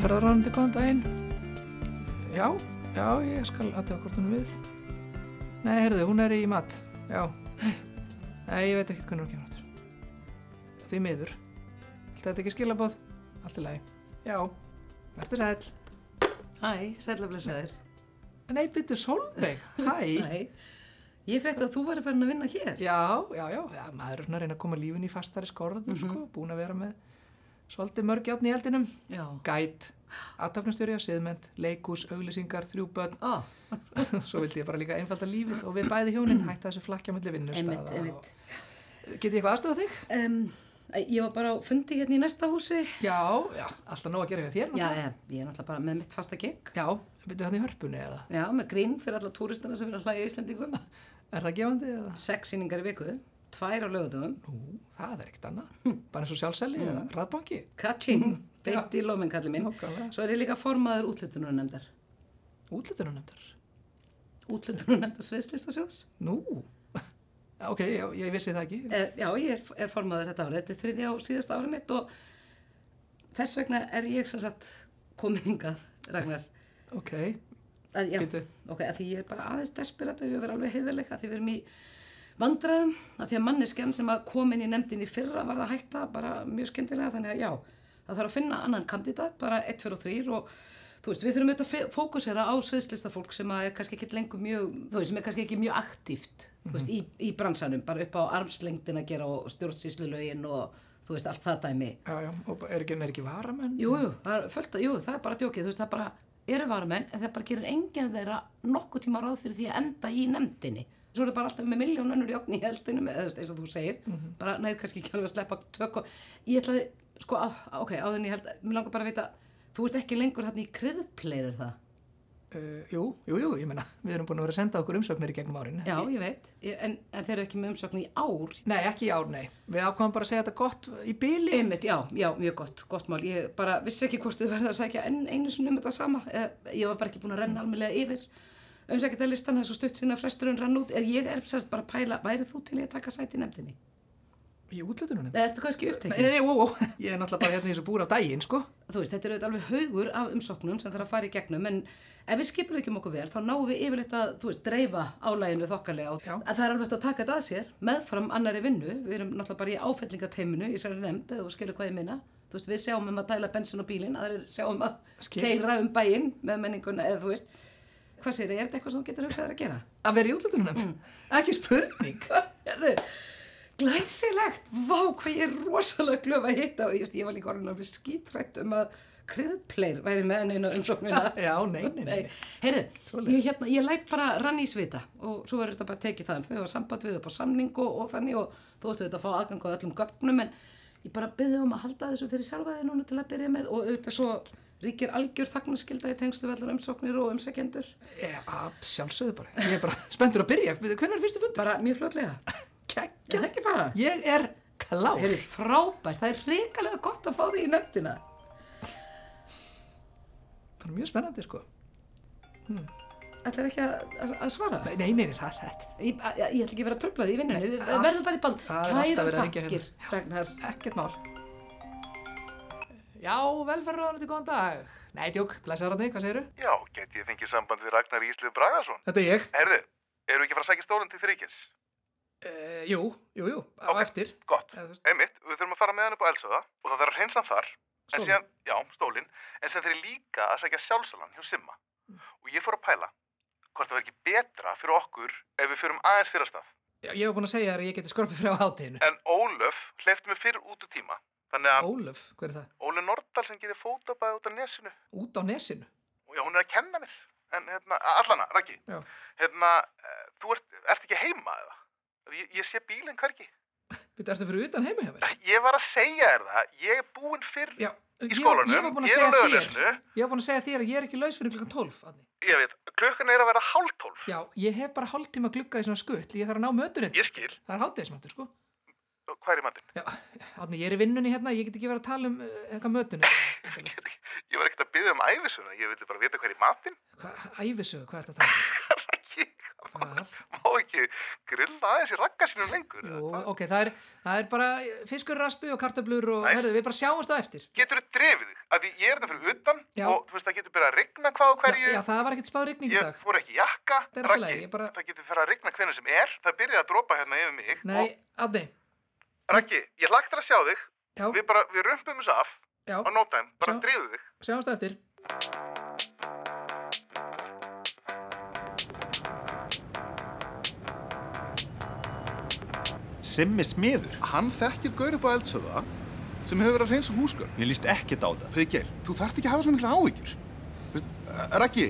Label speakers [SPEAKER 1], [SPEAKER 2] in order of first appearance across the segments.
[SPEAKER 1] ferðaránandi góðan daginn já, já, ég skal aðtöða hvort hún er við nei, heyrðu, hún er í mat já, nei, ég veit ekki hvernig hún kemur áttur því miður Ætli þetta ekki skilabóð? Allt í lagi. Já, verður sæl.
[SPEAKER 2] Hæ, sælaflesaðir.
[SPEAKER 1] Nei, byttu Solveig. Hæ.
[SPEAKER 2] Hæ. Ég frétti að þú væri farin að vinna hér.
[SPEAKER 1] Já, já, já, já, maður er svona að reyna að koma lífin í fastari skorður, sko, búin að vera með svolítið mörg játn í eldinum.
[SPEAKER 2] Já.
[SPEAKER 1] Gæt, aðtapnastjóri á siðmend, leikús, auglýsingar, þrjú börn,
[SPEAKER 2] Ó,
[SPEAKER 1] svo vildi ég bara líka einfalda lífið og við bæði hjónin hætta þessu flakkja milli vinnustaða.
[SPEAKER 3] Einmitt, einmitt.
[SPEAKER 1] og- Get ég eitthvað aðstofa þig?
[SPEAKER 2] Um, ég var bara á fundi hérna í næsta húsi.
[SPEAKER 1] Já, já, alltaf nóg að gera hjá þér.
[SPEAKER 2] Já,
[SPEAKER 1] náttúrulega.
[SPEAKER 2] ég, ég er náttúrulega bara með mitt fasta gig.
[SPEAKER 1] Já, byrjuðu hann í hörpunni eða?
[SPEAKER 2] Já, með grín fyrir alla túristina sem er að hlæja Íslandingum.
[SPEAKER 1] Er það gefandi eða?
[SPEAKER 2] Sex síningar í viku, tvær á lögutum.
[SPEAKER 1] Nú, það er ekkert annað.
[SPEAKER 2] Hm.
[SPEAKER 1] Bara eins og sjálfsæli
[SPEAKER 2] Mm.
[SPEAKER 1] eða raðbanki.
[SPEAKER 2] Kaching, beitt í lóminn kalli minn.
[SPEAKER 1] Nákvæmlega.
[SPEAKER 2] Svo er ég líka formaður útlutununemndar.
[SPEAKER 1] Útlutunanemndar.
[SPEAKER 2] Útlutununemndar sviðslistasjóðs.
[SPEAKER 1] Nú, ok, já, ég vissi það ekki.
[SPEAKER 2] Eh, Já, ég er, er formaður þetta árið, þetta er þriðja og síðasta árið mitt og þess vegna er ég sem sagt komin hingað, Ragnar.
[SPEAKER 1] Ok,
[SPEAKER 2] Að, já,
[SPEAKER 1] Bíddu.
[SPEAKER 2] ok, að því ég er bara aðeins desperat að við verðum alveg heiðarleika, að því við erum í vandræðum, að því að manneskjan sem að komin í nefndin í fyrra var það hætta bara mjög skemmtilega, þannig að já, það þarf að finna annan kandidat, bara 1, 2 og 3 og þú veist, við þurfum auðvitað að fe- fókusera á sviðslista fólk sem að er kannski ekki lengur mjög, þú veist, sem er kannski ekki mjög aktíft, þú veist, í, í bransanum, bara upp á armslengdin að gera og stjórnsýslu lögin og þú veist, allt það dæmi.
[SPEAKER 1] já, já, og ba- er ekki, er ekki varamenn?
[SPEAKER 2] Jú, jú, það er, fullt, að- jú, það er bara djókið, þú veist, það er bara eru varumenn en það bara gerir enginn þeirra nokkuð tíma ráð fyrir því að enda í nefndinni. Svo er það bara alltaf með miljón önnur játn í heldinu, með, eða, þú veist, eins og þú segir, bara nær kannski ekki alveg að sleppa tök og ég ætlaði, sko, á, ok, áður en ég held, mér langar bara að vita, þú ert ekki lengur hérna í kriðpleir, er það?
[SPEAKER 1] Uh, jú, jú, jú, ég menna, við erum búin að vera að senda okkur umsöknir í gegnum árin.
[SPEAKER 2] Já, ég veit, ég, en, en þeir eru ekki með umsökn í ár.
[SPEAKER 1] Nei, ekki í ár, nei. Við ákvæmum bara að segja þetta gott í byli.
[SPEAKER 2] Einmitt, já, já, mjög gott, gott mál, ég bara vissi ekki hvort þið verða að sækja enn einu sinni um þetta sama, Eh, ég var bara ekki búin að renna almennlega yfir umsækjata listan þessu stutt sinna fresturinn rann út, Eh, ég er sérst bara að pæla, væri þú til í að taka sæti í nefndinni?
[SPEAKER 1] Í útlutunum.
[SPEAKER 2] Eða ertu kannski
[SPEAKER 1] Nei,
[SPEAKER 2] upptekið?
[SPEAKER 1] nei, ó, ó, ég er náttúrulega bara hérna í þessu búr á daginn, sko.
[SPEAKER 2] Þú veist, þetta er auðvitað alveg haugur af umsóknum sem þarf að fara í gegnum, en ef við skipur ekki um okkur vel, þá náum við yfirleitt að, þú veist, dreifa álæginu þokkalega og
[SPEAKER 1] Já.
[SPEAKER 2] að það er alveg hægt að taka þetta að sér meðfram annari vinnu, við erum náttúrulega bara í áfellingateiminu, ég sér nefnd, eða þú skilur hvað ég minna, þú veist, við sjáum um að dæla bensin á bílinn, aðrir sjáum um að
[SPEAKER 1] Skil.
[SPEAKER 2] keira um bæinn með menninguna, eða þú veist, hvað sér, er þetta eitthvað sem þú getur hugsað þér að gera?
[SPEAKER 1] Að vera í útlutunum. Ekki spurning.
[SPEAKER 2] Herðu, glæsilegt, vá hvað ég er rosalega glöf að hitta og just, ég var líka orðin alveg skítrætt um að kriðpleir væri með henni inn á umsóknina.
[SPEAKER 1] Já, nei, nei, nei. nei.
[SPEAKER 2] Heyrðu,
[SPEAKER 1] Svoleiðis.
[SPEAKER 2] ég, hérna, ég læt bara rann í svita og svo verður þetta bara tekið það en þau hafa samband við upp á samning og, og þannig og þú ættu þetta að fá aðgang á öllum gögnum en ég bara byrði um að halda þessu fyrir sjálfa þig núna til að byrja með og auðvitað svo ríkir algjör þagnaskilda í tengstu veldur umsóknir og umsækjendur.
[SPEAKER 1] Ég, að sjálfsögðu bara. Ég er bara spenntur að byrja. Hvernig er fyrstu fundur?
[SPEAKER 2] Bara mjög fljótlega.
[SPEAKER 1] Kekja.
[SPEAKER 2] Gæð ekki bara.
[SPEAKER 1] Ég er klár.
[SPEAKER 2] Það er frábært, það er reikalega gott að fá því í nefndina.
[SPEAKER 1] Það er mjög spennandi, sko.
[SPEAKER 2] Ætlar ekki að, að, að svara?
[SPEAKER 1] Nei, nei, nei, það er hætt.
[SPEAKER 2] Ég, að- ég, ég ætla ekki að vera að tröfla því í vinnunni, við
[SPEAKER 1] allt-
[SPEAKER 2] verðum bara í band.
[SPEAKER 1] það er alltaf verið að hérna. ringja
[SPEAKER 2] þakkir, Ragnar.
[SPEAKER 1] Ekkert mál. Já, velferðarraðanandi, góðan dag. Nei, djók, blæsaðarandi, hvað segiru?
[SPEAKER 4] Já, get ég fengið samband við Ragnar Íslið Bragason?
[SPEAKER 1] Þetta er ég.
[SPEAKER 4] Herðu, eru ekki að fara að sækja stólinn til þryggjens?
[SPEAKER 1] Uh, jú, jú, jú, á
[SPEAKER 4] Ok.
[SPEAKER 1] eftir.
[SPEAKER 4] Gott.
[SPEAKER 1] Eða, þú veist-
[SPEAKER 4] Einmitt, við þurfum að fara með hann upp á Elsaða og það þarf að hreinsa hann þar. En
[SPEAKER 1] Stólinn?
[SPEAKER 4] síðan, já, stólinn. En sem þeir líka að sækja sjálfsalan hjá Simma.
[SPEAKER 1] Mm.
[SPEAKER 4] Og ég fór að pæla hvort það verður ekki betra fyrir okkur ef við fyrum aðeins fyrir að stað.
[SPEAKER 1] Já, ég var búin að segja þér að ég geti skorpið frá hátíðinu.
[SPEAKER 4] En Ólöf hleyfti mig fyrr út úr tíma. Þannig að
[SPEAKER 1] Ólöf, hver er það?
[SPEAKER 4] Ólöf Nordahl sem gerir fótabæði út af nesinu.
[SPEAKER 1] Út á nesinu.
[SPEAKER 4] Og já, hún er að kenna mér. En hérna, allana, Raggi,
[SPEAKER 1] Já.
[SPEAKER 4] hérna, eh, þú ert, ert ekki heima eða? Ég, ég sé bílinn hvergi.
[SPEAKER 1] Býttu, ertu fyrir utan heima hjá mér?
[SPEAKER 4] Ég var að segja þér það, ég er búinn fyrr
[SPEAKER 1] Já,
[SPEAKER 4] í skólanum,
[SPEAKER 1] ég var búin að
[SPEAKER 4] ég er á
[SPEAKER 1] segja þér.
[SPEAKER 4] Laugarnesinu.
[SPEAKER 1] Ég var búin að segja þér að ég er ekki laus fyrir klukkan 12. Adni.
[SPEAKER 4] Ég veit, klukkan er að vera hálf tólf.
[SPEAKER 1] Já, ég hef bara hálftíma glugga í svona skutt, ég þarf að ná mötunni.
[SPEAKER 4] Ég skil,
[SPEAKER 1] Það er hátíðismöntur, sko.
[SPEAKER 4] hvað er í matinn?
[SPEAKER 1] Já, Adni, ég er í vinnunni hérna, ég get ekki verið að tala um uh, eitthvað mötunni.
[SPEAKER 4] Ég var ekkert að byggja um æfisuna, ég vildi bara vita hvað er í matinn.
[SPEAKER 1] um? Hvað, æfisögu, hvað er þetta?
[SPEAKER 4] Raggi,
[SPEAKER 5] Hvað?
[SPEAKER 6] Má ekki grilla aðeins í ragga sínum lengur? eða
[SPEAKER 5] Jú,
[SPEAKER 6] hvað?
[SPEAKER 5] ok, það er, það er bara fiskur raspi og kartablur og
[SPEAKER 6] Nei.
[SPEAKER 5] herðu, við bara sjáumst á eftir.
[SPEAKER 6] Getur þú drefið þig? Af því ég er þetta fyrir utan
[SPEAKER 5] Já.
[SPEAKER 6] og þú veist það getur byrjað að rigna hvað og
[SPEAKER 5] Já,
[SPEAKER 6] hverju.
[SPEAKER 5] já, það var ekkert spáð rigning í
[SPEAKER 6] Ég
[SPEAKER 5] dag.
[SPEAKER 6] fór ekki í jakka,
[SPEAKER 5] Það er allt í lagi,
[SPEAKER 6] Raggi,
[SPEAKER 5] ég bara-
[SPEAKER 6] það getur fyrir að rigna hvernig sem er, það byrjaði að dropa hérna yfir mig
[SPEAKER 5] Nei, Adni,
[SPEAKER 6] og Raggi, ég lagt til að sjá þig,
[SPEAKER 5] já,
[SPEAKER 6] við bara, við rumpum þessu af
[SPEAKER 5] já,
[SPEAKER 6] á nótæm, bara
[SPEAKER 5] Sjá.
[SPEAKER 6] dríðu þig.
[SPEAKER 5] sjáumst á eftir.
[SPEAKER 7] Simmi smiður.
[SPEAKER 4] Hann þekkir gaur upp á eldsöða sem hefur verið að reynsa húsgögn.
[SPEAKER 7] Mér líst ekkert á það.
[SPEAKER 4] Friggeir, þú þarft ekki að hafa svona mikla áhyggjur. Veist, eh, Raggi,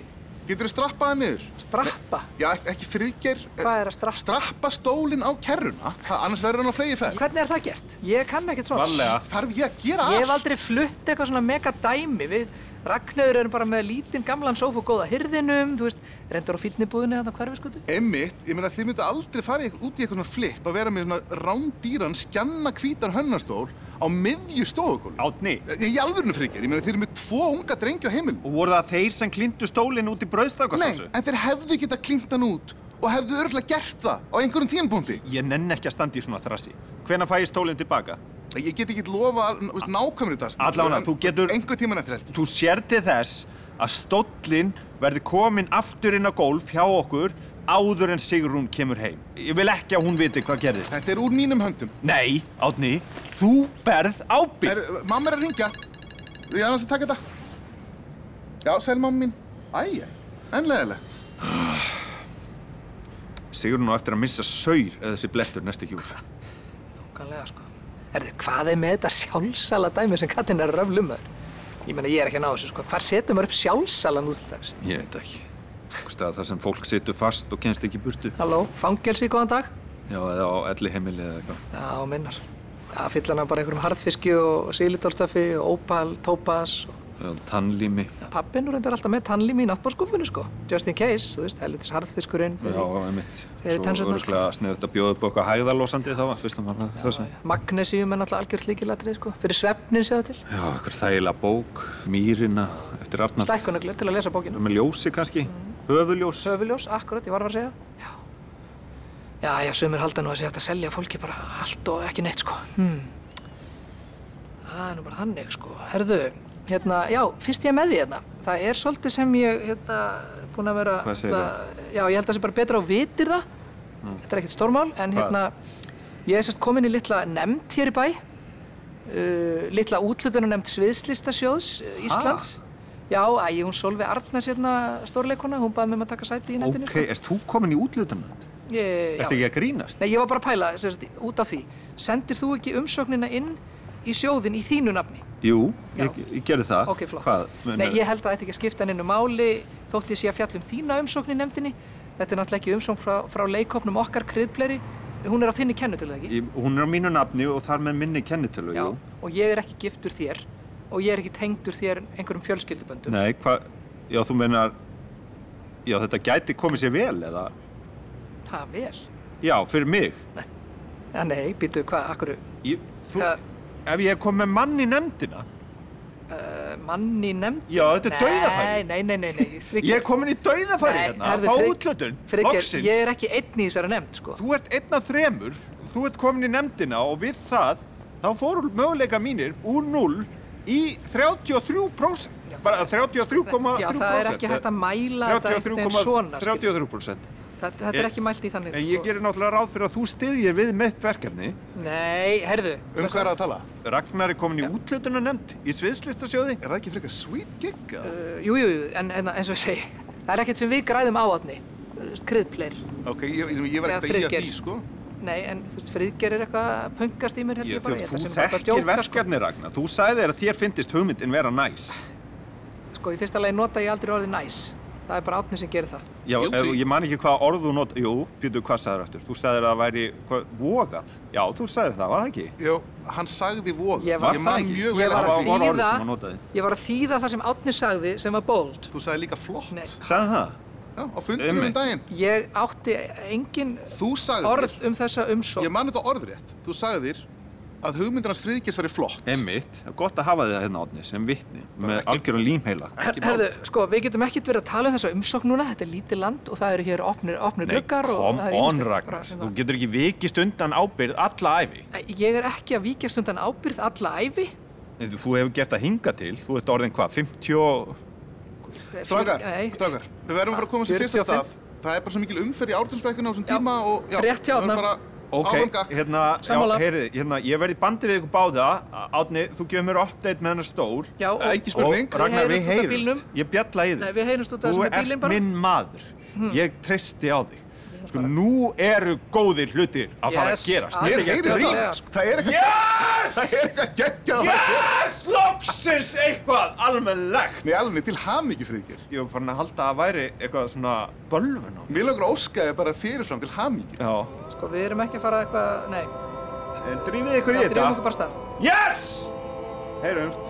[SPEAKER 4] getur þú strappað hann niður?
[SPEAKER 1] Strappa?
[SPEAKER 4] Já, ek- ekki Friggeir. eh,
[SPEAKER 1] Hvað er að strappa?
[SPEAKER 4] Strappa stólinn á kerruna, það- annars verður hann á flegi fær.
[SPEAKER 1] Hvernig er það gert? Ég kann ekkert svona.
[SPEAKER 7] Varlega.
[SPEAKER 4] Þarf ég að gera
[SPEAKER 1] Ég
[SPEAKER 4] allt?
[SPEAKER 1] hef aldrei flutt eitthvað svona mega dæmi við Ragnarður erum bara með lítinn gamlan sófa og góða hirðinum, þú veist, reyndar á fítnibúðinni þarna hverfiskutu.
[SPEAKER 4] Einmitt, ég meina þið myndu aldrei fara í- út í eitthvað svona flip að vera með svona rándýran, skjanna hvítan hönnastól á miðju stofugólum.
[SPEAKER 7] Átni.
[SPEAKER 4] Ég í alvörinu Friggeir, ég meina þið eru með tvo unga drengi á heimilinu.
[SPEAKER 7] Og voru það þeir sem klindu stólinn út í
[SPEAKER 4] Nei,
[SPEAKER 7] brauðstakastásu?
[SPEAKER 4] en þeir hefðu geta klintan út og hefðu örgulega gert það á einhverjum tímpúndi.
[SPEAKER 7] Ég nenn ekki að standa í svona þrassi. Hvenær fæ ég stólinn tilbaka?
[SPEAKER 4] Ég get ekki lofa n- veist, nákvæmri dast.
[SPEAKER 7] Allavega, þú getur-
[SPEAKER 4] Engu tíman eftir helgi.
[SPEAKER 7] Þú sér til þess að stólinn verði komin aftur inn á gólf hjá okkur áður en Sigrún kemur heim. Ég vil ekki að hún viti hvað gerðist.
[SPEAKER 4] Þetta er úr mínum höndum.
[SPEAKER 7] Nei, Átni, þú berð ábyrg.
[SPEAKER 4] Er, mamma er að ringja. Ég annars að taka þetta. Já, sæl mamma mín. Æ, æ, ennlegaðilegt.
[SPEAKER 7] Sigrún á eftir að missa saur eða þessi blettur næst ekki úr.
[SPEAKER 1] Nókanlega, sko. Erðu, hvað er með þetta sjálfsala dæmi sem kattinn er að röfla um þær? Ég meina, ég er ekki að ná þessu, sko. Hvar setur maður upp sjálfsalan út til dags?
[SPEAKER 7] Ég veit ekki. Einhvers staðar þar sem fólk situr fast og kemst ekki í burtu.
[SPEAKER 1] Halló, fangelsi, góðan dag?
[SPEAKER 7] Já, eða á elli heimili eða eitthvað.
[SPEAKER 1] Já, minnar. Það fylla hana bara einhverjum harðfiski og sílítórstöfi og ópal, tópas og
[SPEAKER 7] Eða Tannlími.
[SPEAKER 1] pappin og reyndar alltaf með tannlím í náttbórskúfunni, sko. Just in case, þú veist, helvitis harðfiskurinn.
[SPEAKER 7] Já, einmitt.
[SPEAKER 1] Fyrir
[SPEAKER 7] Svo
[SPEAKER 1] tennsurnar.
[SPEAKER 7] öruglega sniður þetta bjóð upp á eitthvað hægðalósandi þá, fyrst að maður þess að.
[SPEAKER 1] Magnesíum er náttúrulega algjörð líkilatrið, sko. Fyrir svefnin séu til.
[SPEAKER 7] Já, eitthvað þægilega bók, mýrina, eftir Arnald.
[SPEAKER 1] Stækkunöglur til að lesa bókina.
[SPEAKER 7] Með ljósi kannski, höfuljós.
[SPEAKER 1] Mm. Höfuljós, akkurat, ég var að fara að segja það. Já. Já, já, sömur halda nú að segja þetta að selja fólki bara allt og ekki neitt, sko. Hmm. Það er nú bara þannig, sko. Herðu, hérna, já, fyrst ég er með því hérna. Það er svolítið sem ég, hérna, búin að vera...
[SPEAKER 7] Hvað segirðu? Hmm.
[SPEAKER 1] það? Já, ég held að það sé bara betra á vitir það. Þetta er ekkert stórmál, en
[SPEAKER 7] Hvað?
[SPEAKER 1] hérna, ég er sérst komin í litla nefnd hér í bæ. Uh, litla útlutunanemnd Sviðslistasjóðs uh, Íslands. Já, æ, hún Solveig Arnars hérna stórleikona, hún baði mig um að taka sæti í nefndinu.
[SPEAKER 7] Ok, erst þú komin í útlutana?
[SPEAKER 1] sko. Ég,
[SPEAKER 7] Ertu
[SPEAKER 1] já.
[SPEAKER 7] ekki að grínast?
[SPEAKER 1] Nei, ég var bara að pæla, sérst, út af því. Sendir þú ekki umsóknina inn í sjóðin í þínu nafni?
[SPEAKER 7] Jú,
[SPEAKER 1] Já.
[SPEAKER 7] ég, ég gerði það.
[SPEAKER 1] Ok, flott.
[SPEAKER 7] Hvað?
[SPEAKER 1] Nei, ég held að þetta ekki að skipta hennu máli þótt ég sé að fjalla um þína umsókn í nefndinni. Þetta er náttúrulega ekki umsókn frá, frá leikopnum okkar kryðbleri. Hún er á þinni kennutölu, eða ekki?
[SPEAKER 7] Ég- Hún er á mínu nafni og þar með minni kennitölu,
[SPEAKER 1] Já.
[SPEAKER 7] jú.
[SPEAKER 1] Og ég er ekki giftur þér og ég er ekki tengdur þér einhverjum fjölskylduböndum.
[SPEAKER 7] Nei, hvað? Já, þú meinar, já, þetta gæti komið sér vel, eða?
[SPEAKER 1] Það vel.
[SPEAKER 7] Já, fyrir mig.
[SPEAKER 1] Ja, nei, býtu, hvað, akkur,
[SPEAKER 7] Ég, þú,
[SPEAKER 1] Ja.
[SPEAKER 7] ef ég kom með mann í nefndina,
[SPEAKER 1] mann í nefnd?
[SPEAKER 7] já, þetta er dauðafæri.
[SPEAKER 1] Nei, nei, nei, nei,
[SPEAKER 7] Ég er komin í dauðafæri hérna, að fá útlötun,
[SPEAKER 1] Frigger,
[SPEAKER 7] loksins.
[SPEAKER 1] ég er ekki einn í þessari nefnd, sko.
[SPEAKER 7] Þú ert einn af þremur, þú ert komin í nefndina og við það, þá fóru möguleika mínir úr 0 í 33%, bara 33,3%.
[SPEAKER 1] Já, það er ekki hægt að mæla þetta einhvern veginn svona, skilur. sko.
[SPEAKER 7] 33,33%.
[SPEAKER 1] Þetta, þetta er
[SPEAKER 7] Ég-
[SPEAKER 1] ekki mælt í þannig.
[SPEAKER 7] En ég gerir náttúrulega ráð fyrir að þú styðjir við mitt verkefni.
[SPEAKER 1] Nei, herðu.
[SPEAKER 4] Um hvað er að tala?
[SPEAKER 7] Ragnar er komin í útlötuna nefnd í sviðslistasjóði.
[SPEAKER 4] Er það ekki frekar sweet gig? eða?
[SPEAKER 1] Uh, jú, jú, jú, en, en eins og ég segi, það er ekkert sem við græðum á átni. Þú veist, kryðpleir.
[SPEAKER 4] Ok, ég, ég, ég var
[SPEAKER 1] Eða
[SPEAKER 4] ekkert að íja
[SPEAKER 1] Friðgeir.
[SPEAKER 4] því, sko.
[SPEAKER 1] Nei, en þú veist, friðgerir eitthvað að pöngast í mér, held
[SPEAKER 7] Ég,
[SPEAKER 1] ég bara. held að sé
[SPEAKER 7] þú
[SPEAKER 1] bara sko?
[SPEAKER 7] þekkir
[SPEAKER 1] að djóka,
[SPEAKER 7] verkefni, Ragnar. Þú sagði þér að þér fyndist hugmyndin vera næs.
[SPEAKER 1] Sko. sko, í fyrsta lagi nota ég aldrei orðið næs. Það er bara átni sem gerir það.
[SPEAKER 7] Já,
[SPEAKER 4] Guilty.
[SPEAKER 7] ef, ég man ekki hvað orð þú not... Jú, Pétur, hvað sagður eftir? Þú sagðir að það væri hvað, vogað. Já, þú sagðir það, var það ekki?
[SPEAKER 4] Jó, hann sagði
[SPEAKER 1] Ég
[SPEAKER 4] voð.
[SPEAKER 1] var-
[SPEAKER 4] ég
[SPEAKER 7] Var það
[SPEAKER 4] man
[SPEAKER 7] ekki?
[SPEAKER 4] mjög
[SPEAKER 1] Ég
[SPEAKER 4] vel
[SPEAKER 1] var
[SPEAKER 4] eftir
[SPEAKER 1] að
[SPEAKER 7] Það
[SPEAKER 4] því.
[SPEAKER 7] var orðið
[SPEAKER 1] þýða-
[SPEAKER 7] sem hann notaði.
[SPEAKER 1] Ég var að þýða það sem átni sagði sem var bold.
[SPEAKER 4] Þú sagði líka flott.
[SPEAKER 1] Nei.
[SPEAKER 7] Sagði það?
[SPEAKER 4] Já, á fundurum um
[SPEAKER 7] Einmitt.
[SPEAKER 4] daginn.
[SPEAKER 1] Ég átti engin
[SPEAKER 4] Þú sagðir,
[SPEAKER 1] orð um þessa umsókn.
[SPEAKER 4] ég man þetta orðrétt, þú sagðir að hugmyndir hans friðgjast væri flott.
[SPEAKER 7] Emmitt, það er gott að hafa þið það hérna átni sem vittni með
[SPEAKER 4] ekki-
[SPEAKER 7] algjöran límheila.
[SPEAKER 1] Her,
[SPEAKER 7] Ekki
[SPEAKER 1] herðu,
[SPEAKER 7] mál.
[SPEAKER 1] sko, við getum ekkert verið að tala um þessa umsókn núna, þetta er lítið land og það eru hér opnir, opnir
[SPEAKER 7] Nei,
[SPEAKER 1] gluggar og
[SPEAKER 7] kom
[SPEAKER 1] það er
[SPEAKER 7] on
[SPEAKER 1] ýmislegt bara
[SPEAKER 7] Ragnar,
[SPEAKER 1] sem
[SPEAKER 7] þú
[SPEAKER 1] að-
[SPEAKER 7] getur ekki vikist undan ábyrð alla æfi.
[SPEAKER 1] Æ, Ég er ekki að víkjast undan ábyrð alla æfi.
[SPEAKER 7] Nei, Þú þú hefur gert það hinga til, þú ert orðin hvað, 50 og...
[SPEAKER 4] Strákar,
[SPEAKER 1] Nei,
[SPEAKER 4] strákar, við verðum að fara að komast í fyrsta
[SPEAKER 1] 45.
[SPEAKER 4] stað. Það er bara svo mikil umferð í ártunnsbrekkuna á þessum tíma og... Já,
[SPEAKER 1] rétt hjá
[SPEAKER 4] við verðum
[SPEAKER 1] Árna.
[SPEAKER 4] bara
[SPEAKER 7] Ok,
[SPEAKER 4] áfram gakk.
[SPEAKER 7] hérna, já,
[SPEAKER 1] Sammála.
[SPEAKER 7] heyriði, hérna, ég verði bandið við ykkur báða, Átni, þú gefur mér update með hennar stól
[SPEAKER 1] Já, og
[SPEAKER 4] Ekki spurning.
[SPEAKER 7] og Ragnar,
[SPEAKER 1] Við
[SPEAKER 7] við
[SPEAKER 1] heyrumst út af bílnum.
[SPEAKER 7] heyrumst, ég bjalla í þig.
[SPEAKER 1] Nei, við heyrumst út af
[SPEAKER 7] Þú
[SPEAKER 1] þessu með
[SPEAKER 7] ert
[SPEAKER 1] bílinn bara. Hmm.
[SPEAKER 7] minn maður, ég treysti á þig. Sko, nú eru góðir hlutir að
[SPEAKER 1] Yes, Ah.
[SPEAKER 7] fara að gerast.
[SPEAKER 4] Mér
[SPEAKER 1] Alveg
[SPEAKER 4] heyrist það.
[SPEAKER 1] gjörsamlega, sko.
[SPEAKER 4] Það er eitthvað...
[SPEAKER 7] Yes!
[SPEAKER 4] Það er eitthvað geggjað að fara að gera.
[SPEAKER 7] Yes! Loksins eitthvað almennlegt!
[SPEAKER 4] Nei, alveg, til hamingi friðgjast.
[SPEAKER 7] Ég var farin að halda að væri eitthvað svona bölvun á mig.
[SPEAKER 4] Mér langar að óska þér bara fyrirfram til hamingi.
[SPEAKER 7] Já.
[SPEAKER 1] sko, við erum ekki að fara eitthvað, nei,
[SPEAKER 7] En drífið ykkur í
[SPEAKER 1] það drefum okkur
[SPEAKER 7] þetta.
[SPEAKER 1] bara af stað.
[SPEAKER 7] Yes! Heyrumst.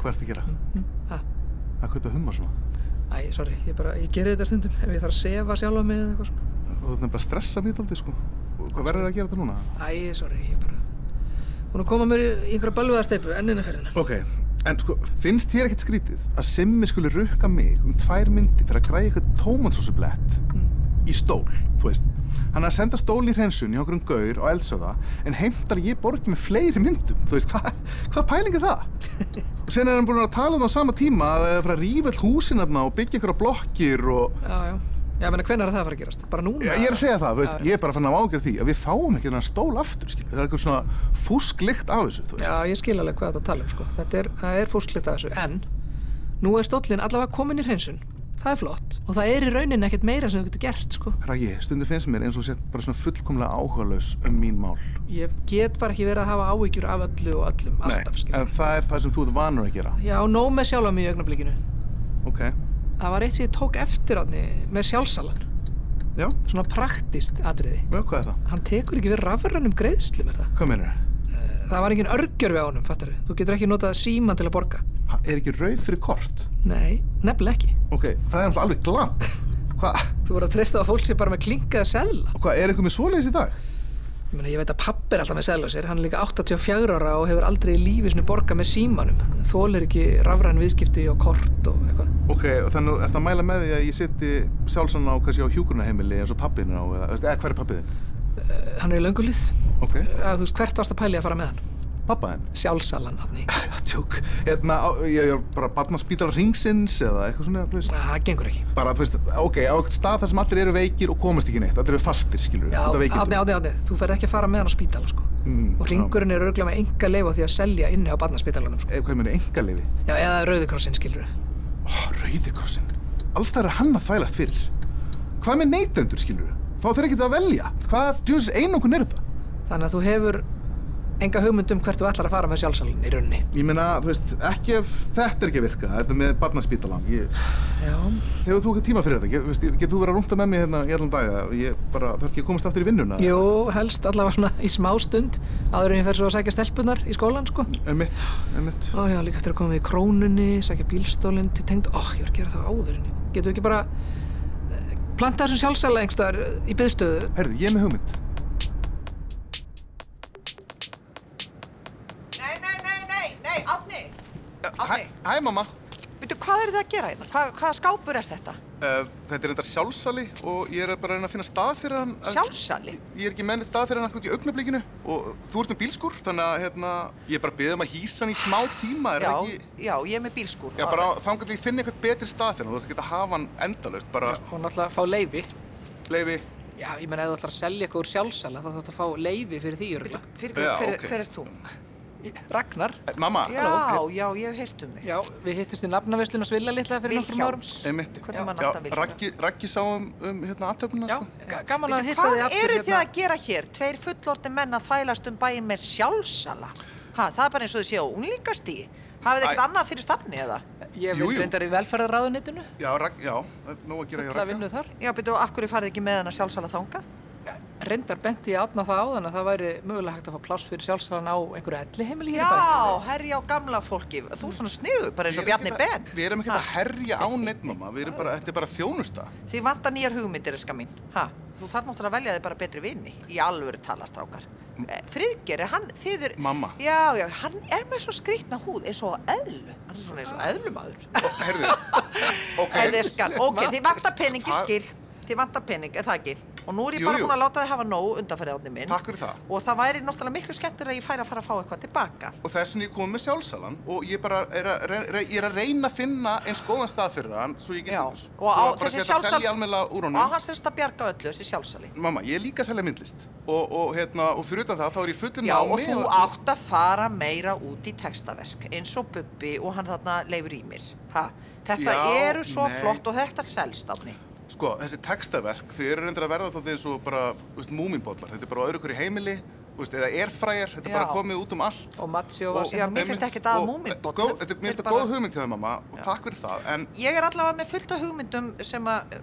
[SPEAKER 4] Hvað ertu að gera?
[SPEAKER 1] Ha?
[SPEAKER 4] Akkur ertu að humma svona?
[SPEAKER 1] Æ, sorry, ég bara, ég gerir þetta stundum ef ég þarf að sefa sjálfa mig eða eitthvað sko. svona.
[SPEAKER 4] Þú ert nefnilega að stressa mér þátti, sko. Og Hvað verður að gera þetta núna?
[SPEAKER 1] Æ, sorry, ég bara, hún er að koma mér í í einhverja bölvaðasteipu ennina ferðina.
[SPEAKER 4] Ok, en sko, finnst þér ekkert skrítið að Simmi skuli rukka mig um tvær myndi fyrir að græja eitthvað tómatsósublett í stól, þú veist. Hann er að senda stólinn í hreinsun í okkur um gaur og eldsöða, en heimtar að ég borgi með fleiri myndum, þú veist, hvað hva pæling er það? og sen er hann búin að tala um það á sama tíma að það er að fara að rífa all húsin þarna og byggja ykkur á blokkir og...
[SPEAKER 1] Já, já, já, menna, hvenær er það að fara að gerast? Bara núna?
[SPEAKER 4] Já, ég er að segja það, þú veist,
[SPEAKER 1] Já,
[SPEAKER 4] ég er bara fann að ágjör því að við fáum ekki þennan stól aftur, skilur. Það er eitthvað svona fúsklikt af þessu, þú veist.
[SPEAKER 1] Já, ég skil alveg hvað þetta tala um, sko. Þetta er, það er fúsklegt að þessu, en nú er stóllinn allavega kominn í hreinsun. Það er flott. Og það er í rauninni ekkert meira sem þú getur gert, sko.
[SPEAKER 4] Ragi, stundum finnst mér eins og sett bara svona fullkomlega áhugalös um mín mál.
[SPEAKER 1] Ég get bara ekki verið að hafa áhyggjur af öllu og öllum, alltaf,
[SPEAKER 4] en
[SPEAKER 1] skil.
[SPEAKER 4] það er það sem þú ert vanur að gera.
[SPEAKER 1] Já, nóg með sjálfa mig í augnablikinu.
[SPEAKER 4] Ok,
[SPEAKER 1] Það var eitt sem ég tók eftir átni með sjálfsalan.
[SPEAKER 4] já, já,
[SPEAKER 1] Svona praktist atriði.
[SPEAKER 4] hvað er það?
[SPEAKER 1] Hann tekur ekki við rafrænum greiðslum, er það?
[SPEAKER 4] Hvað meinar
[SPEAKER 1] Það var engin örgjörfi á honum, fattar Þú getur ekki notað síman til að borga.
[SPEAKER 4] það? Er ekki rauð fyrir kort?
[SPEAKER 1] Nei, nefnilega ekki.
[SPEAKER 4] Ok, það er alltaf alveg glamp. Hvað,
[SPEAKER 1] Þú voru að treysta á að fólk sem bara með klinkaða seðla.
[SPEAKER 4] hva, er eitthvað með svoleiðis í dag?
[SPEAKER 1] Ég, meina, ég veit að pappi er alltaf með seðlásir, hann er líka 84 ára og hefur aldrei í lífi sinni borgað með símanum. Þólir ekki rafræn viðskipti og kort og eitthvað.
[SPEAKER 4] Ok, og þannig er þetta að mæla með því að ég seti sjálfsann á, kannski á hjúkurnaheimili eins og pappin er á, eða, veist, eða hver er pappið þinn?
[SPEAKER 1] Eh, Hann er í löngulið.
[SPEAKER 4] Ok,
[SPEAKER 1] Að, þú veist, hvert varst að pæli að fara með hann?
[SPEAKER 4] pappa þinn?
[SPEAKER 1] Sjálfsalan, hann í.
[SPEAKER 4] Tjók, hérna, á- ég ég er bara barnaspítal ringsins eða eitthvað svona, þú veist.
[SPEAKER 1] Það gengur ekki.
[SPEAKER 4] bara, þú veist, ok, á eitthvað stað þar sem allir eru veikir og komast ekki neitt, allir eru fastir, skilur
[SPEAKER 1] Já,
[SPEAKER 4] út af
[SPEAKER 1] átni,
[SPEAKER 4] veikindum.
[SPEAKER 1] átni, átni, þú ferð ekki að fara með hann á spítala, sko.
[SPEAKER 4] Mm,
[SPEAKER 1] og ringurinn er örgulega með enga leif á því að selja inni á barnaspítalanum, sko.
[SPEAKER 4] Eh, Hvað meina, engaleifi?
[SPEAKER 1] Já, eða rauðikrossin, skilur við.
[SPEAKER 4] Ó, rauðikrossin. Alls það er hann að þvælast fyrir. Hvað með neytendur, skilur Þá þeir ekki að velja. Hvað, djúðis, einungun er þetta?
[SPEAKER 1] Þannig að þú hefur enga hugmynd um hvert þú ætlar að fara með sjálfsalinn í rauninni.
[SPEAKER 4] Ég meina, þú veist, ekki ef þetta er ekki að virka, þetta með barnaspítalan. Ég,
[SPEAKER 1] Já,
[SPEAKER 4] þegar þú ekki tíma fyrir þetta, get, veist, ég- getur þú verið að rúnta með mér hérna í allan daga? Ég bara, þarf ekki að komast aftur í vinnuna?
[SPEAKER 1] Jú, helst allavega svona í smá stund áður en ég fer svo að sækja stelpunar í skólan, sko.
[SPEAKER 4] Einmitt, einmitt.
[SPEAKER 1] Ó já, líka eftir að koma við í krónunni, sækja bílstólinn til tengd, ó, ég var að gera það áður en ég. Getur ekki bara eh, planta þessum sjálfsæla einhverstaðar eh, í byðstöðu?
[SPEAKER 4] Herðu, ég er með hugmynd.
[SPEAKER 8] Nei, nei, nei, nei, nei, Átni,
[SPEAKER 4] Hæ, hæ, mamma.
[SPEAKER 8] veitu hvað er það að gera hérna? Hva, hvaða skápur er þetta?
[SPEAKER 4] Uh, þetta er reyndar sjálfsali og ég er bara að reyna að finna stað fyrir hann. en-
[SPEAKER 8] Sjálfsali?
[SPEAKER 4] Ég er ekki mennið stað fyrir hann akkur út í augnablikinu og þú ert með bílskur, þannig að hérna, ég er bara að beða um að hýsa hann í smá tíma, er
[SPEAKER 8] Já,
[SPEAKER 4] það ekki?
[SPEAKER 8] já, ég er með bílskúr.
[SPEAKER 4] Já, bara þangað til ég finna eitthvað betri stað fyrir hann, þú ert ekki að hafa hann endalaust, bara
[SPEAKER 1] Og náttúrulega fá leifi.
[SPEAKER 4] leifi,
[SPEAKER 1] Já, ég menna, ef þú ætlar að selja eitthvað úr sjálfsæla, þá þú ætlar að fá leifi fyrir því, örgulega.
[SPEAKER 8] Fyrir,
[SPEAKER 4] Já,
[SPEAKER 8] hver,
[SPEAKER 4] ok.
[SPEAKER 8] hver er þú?
[SPEAKER 1] Ragnar,
[SPEAKER 4] Eh, mamma,
[SPEAKER 8] Já, já, ég hef heyrt um þig.
[SPEAKER 1] já, við hittist í nafnaveslun og svilla litla fyrir nokkrum árum.
[SPEAKER 8] Vilhjálms.
[SPEAKER 4] einmitt,
[SPEAKER 8] Hvernig mann
[SPEAKER 4] já,
[SPEAKER 8] alltaf sko. Vilhjálms?
[SPEAKER 4] Raggi, Raggi sá um, um hérna aðtöfnuna,
[SPEAKER 1] Já,
[SPEAKER 4] sko.
[SPEAKER 1] ga- gaman að
[SPEAKER 8] Veitu,
[SPEAKER 1] hitta þið
[SPEAKER 8] Hvað
[SPEAKER 1] aftur hérna.
[SPEAKER 8] eru þið að gera hér? Tveir fullorti menn að þvælast um bæin með sjálfsala? Ha, það er bara eins og þið séu á unglingastígi. Hafið
[SPEAKER 4] Æ.
[SPEAKER 8] þið ekkert annað fyrir stafni eða?
[SPEAKER 1] Ég
[SPEAKER 4] Jú,
[SPEAKER 1] veit
[SPEAKER 4] jú.
[SPEAKER 1] reyndar í velferðarráðunitinu,
[SPEAKER 4] Já, Raggi, já, það er nóg að gera hjá
[SPEAKER 1] það
[SPEAKER 4] Ragga.
[SPEAKER 1] vinnu þar.
[SPEAKER 8] Já, betur, af hverju farið þið ekki með hana sjálfsala þangað?
[SPEAKER 1] reyndar benti ég átna það áðan að það væri mögulega hægt að fá pláss fyrir sjálfsalan á einhverju elli heimili hér í bæ.
[SPEAKER 8] Já, herja á gamla fólki, þú er svona sniðu, bara eins og
[SPEAKER 4] Við erum
[SPEAKER 8] Bjarni
[SPEAKER 4] ekkert
[SPEAKER 8] Ben.
[SPEAKER 4] að- Við erum ekkert að herja á neitt, mamma. Við erum bara, þetta er bara þjónusta.
[SPEAKER 8] Þið vantar nýjar hugmyndir, eska mín. Ha, þú þarf náttúrulega að velja þig bara betri vini, í alvöru talastrákar. Friðger, er hann, þið er...
[SPEAKER 4] Mamma.
[SPEAKER 8] Já, já, hann er með svo skrýtna húð, eins og á eðlu. Hann er svona eins og eðlumadur.
[SPEAKER 4] Herðu, ok.
[SPEAKER 8] Herðu, eskan, ok, þið vantar peningi
[SPEAKER 4] Það-
[SPEAKER 8] skil. Þið vantar pening, er það ekki? Og nú er ég
[SPEAKER 4] Jú,
[SPEAKER 8] bara
[SPEAKER 4] jú.
[SPEAKER 8] búin að láta þið hafa nóg undanfærið átni minn.
[SPEAKER 4] Takk fyrir það.
[SPEAKER 8] Og það væri náttúrulega miklu skemmtur að ég færi að fara að fá eitthvað tilbaka.
[SPEAKER 4] Og þess vegna ég kom með sjálfsalan og ég bara er að, re, re, ég er að reyna að finna eins góðan stað fyrir hann svo ég
[SPEAKER 8] Já,
[SPEAKER 4] getur
[SPEAKER 8] og á-
[SPEAKER 4] bara
[SPEAKER 8] þessi
[SPEAKER 4] geta
[SPEAKER 8] sjálfsal-
[SPEAKER 4] selja almennilega úr
[SPEAKER 8] Og
[SPEAKER 4] honum.
[SPEAKER 8] hann semst að bjarga öllu þessi sjálfsali.
[SPEAKER 4] Mamma, ég er líka að selja myndlist og, og, hérna, og fyrir utan það þá er ég fullur
[SPEAKER 8] Já, og
[SPEAKER 4] námi
[SPEAKER 8] þú átt að fara meira út í textaverk, eins og Bubbi og hann þarna leifur í mér. Ha, þetta
[SPEAKER 4] Já,
[SPEAKER 8] eru svo
[SPEAKER 4] nei.
[SPEAKER 8] flott og þetta selst afni.
[SPEAKER 4] Sko, þessi textaverk, þau eru reyndir að verða þótt eins og bara, þú veist, múminbollar. Þetta er bara á öðru hverju heimili, þú veist, eða erfræjar, þetta er bara
[SPEAKER 8] Já.
[SPEAKER 4] komið út um allt.
[SPEAKER 1] Og Matsi og
[SPEAKER 4] Og-
[SPEAKER 1] Vasi.
[SPEAKER 8] Já, mér finnst
[SPEAKER 4] einmitt,
[SPEAKER 8] ekkert að
[SPEAKER 4] og-
[SPEAKER 8] Múmínbollur.
[SPEAKER 4] góð- Þetta mér
[SPEAKER 8] Þeir
[SPEAKER 4] finnst þetta
[SPEAKER 8] bara-
[SPEAKER 4] góð hugmynd hjá þér, mamma, og takk fyrir það, en
[SPEAKER 8] Ég er allavega með fullt af hugmyndum sem að eh,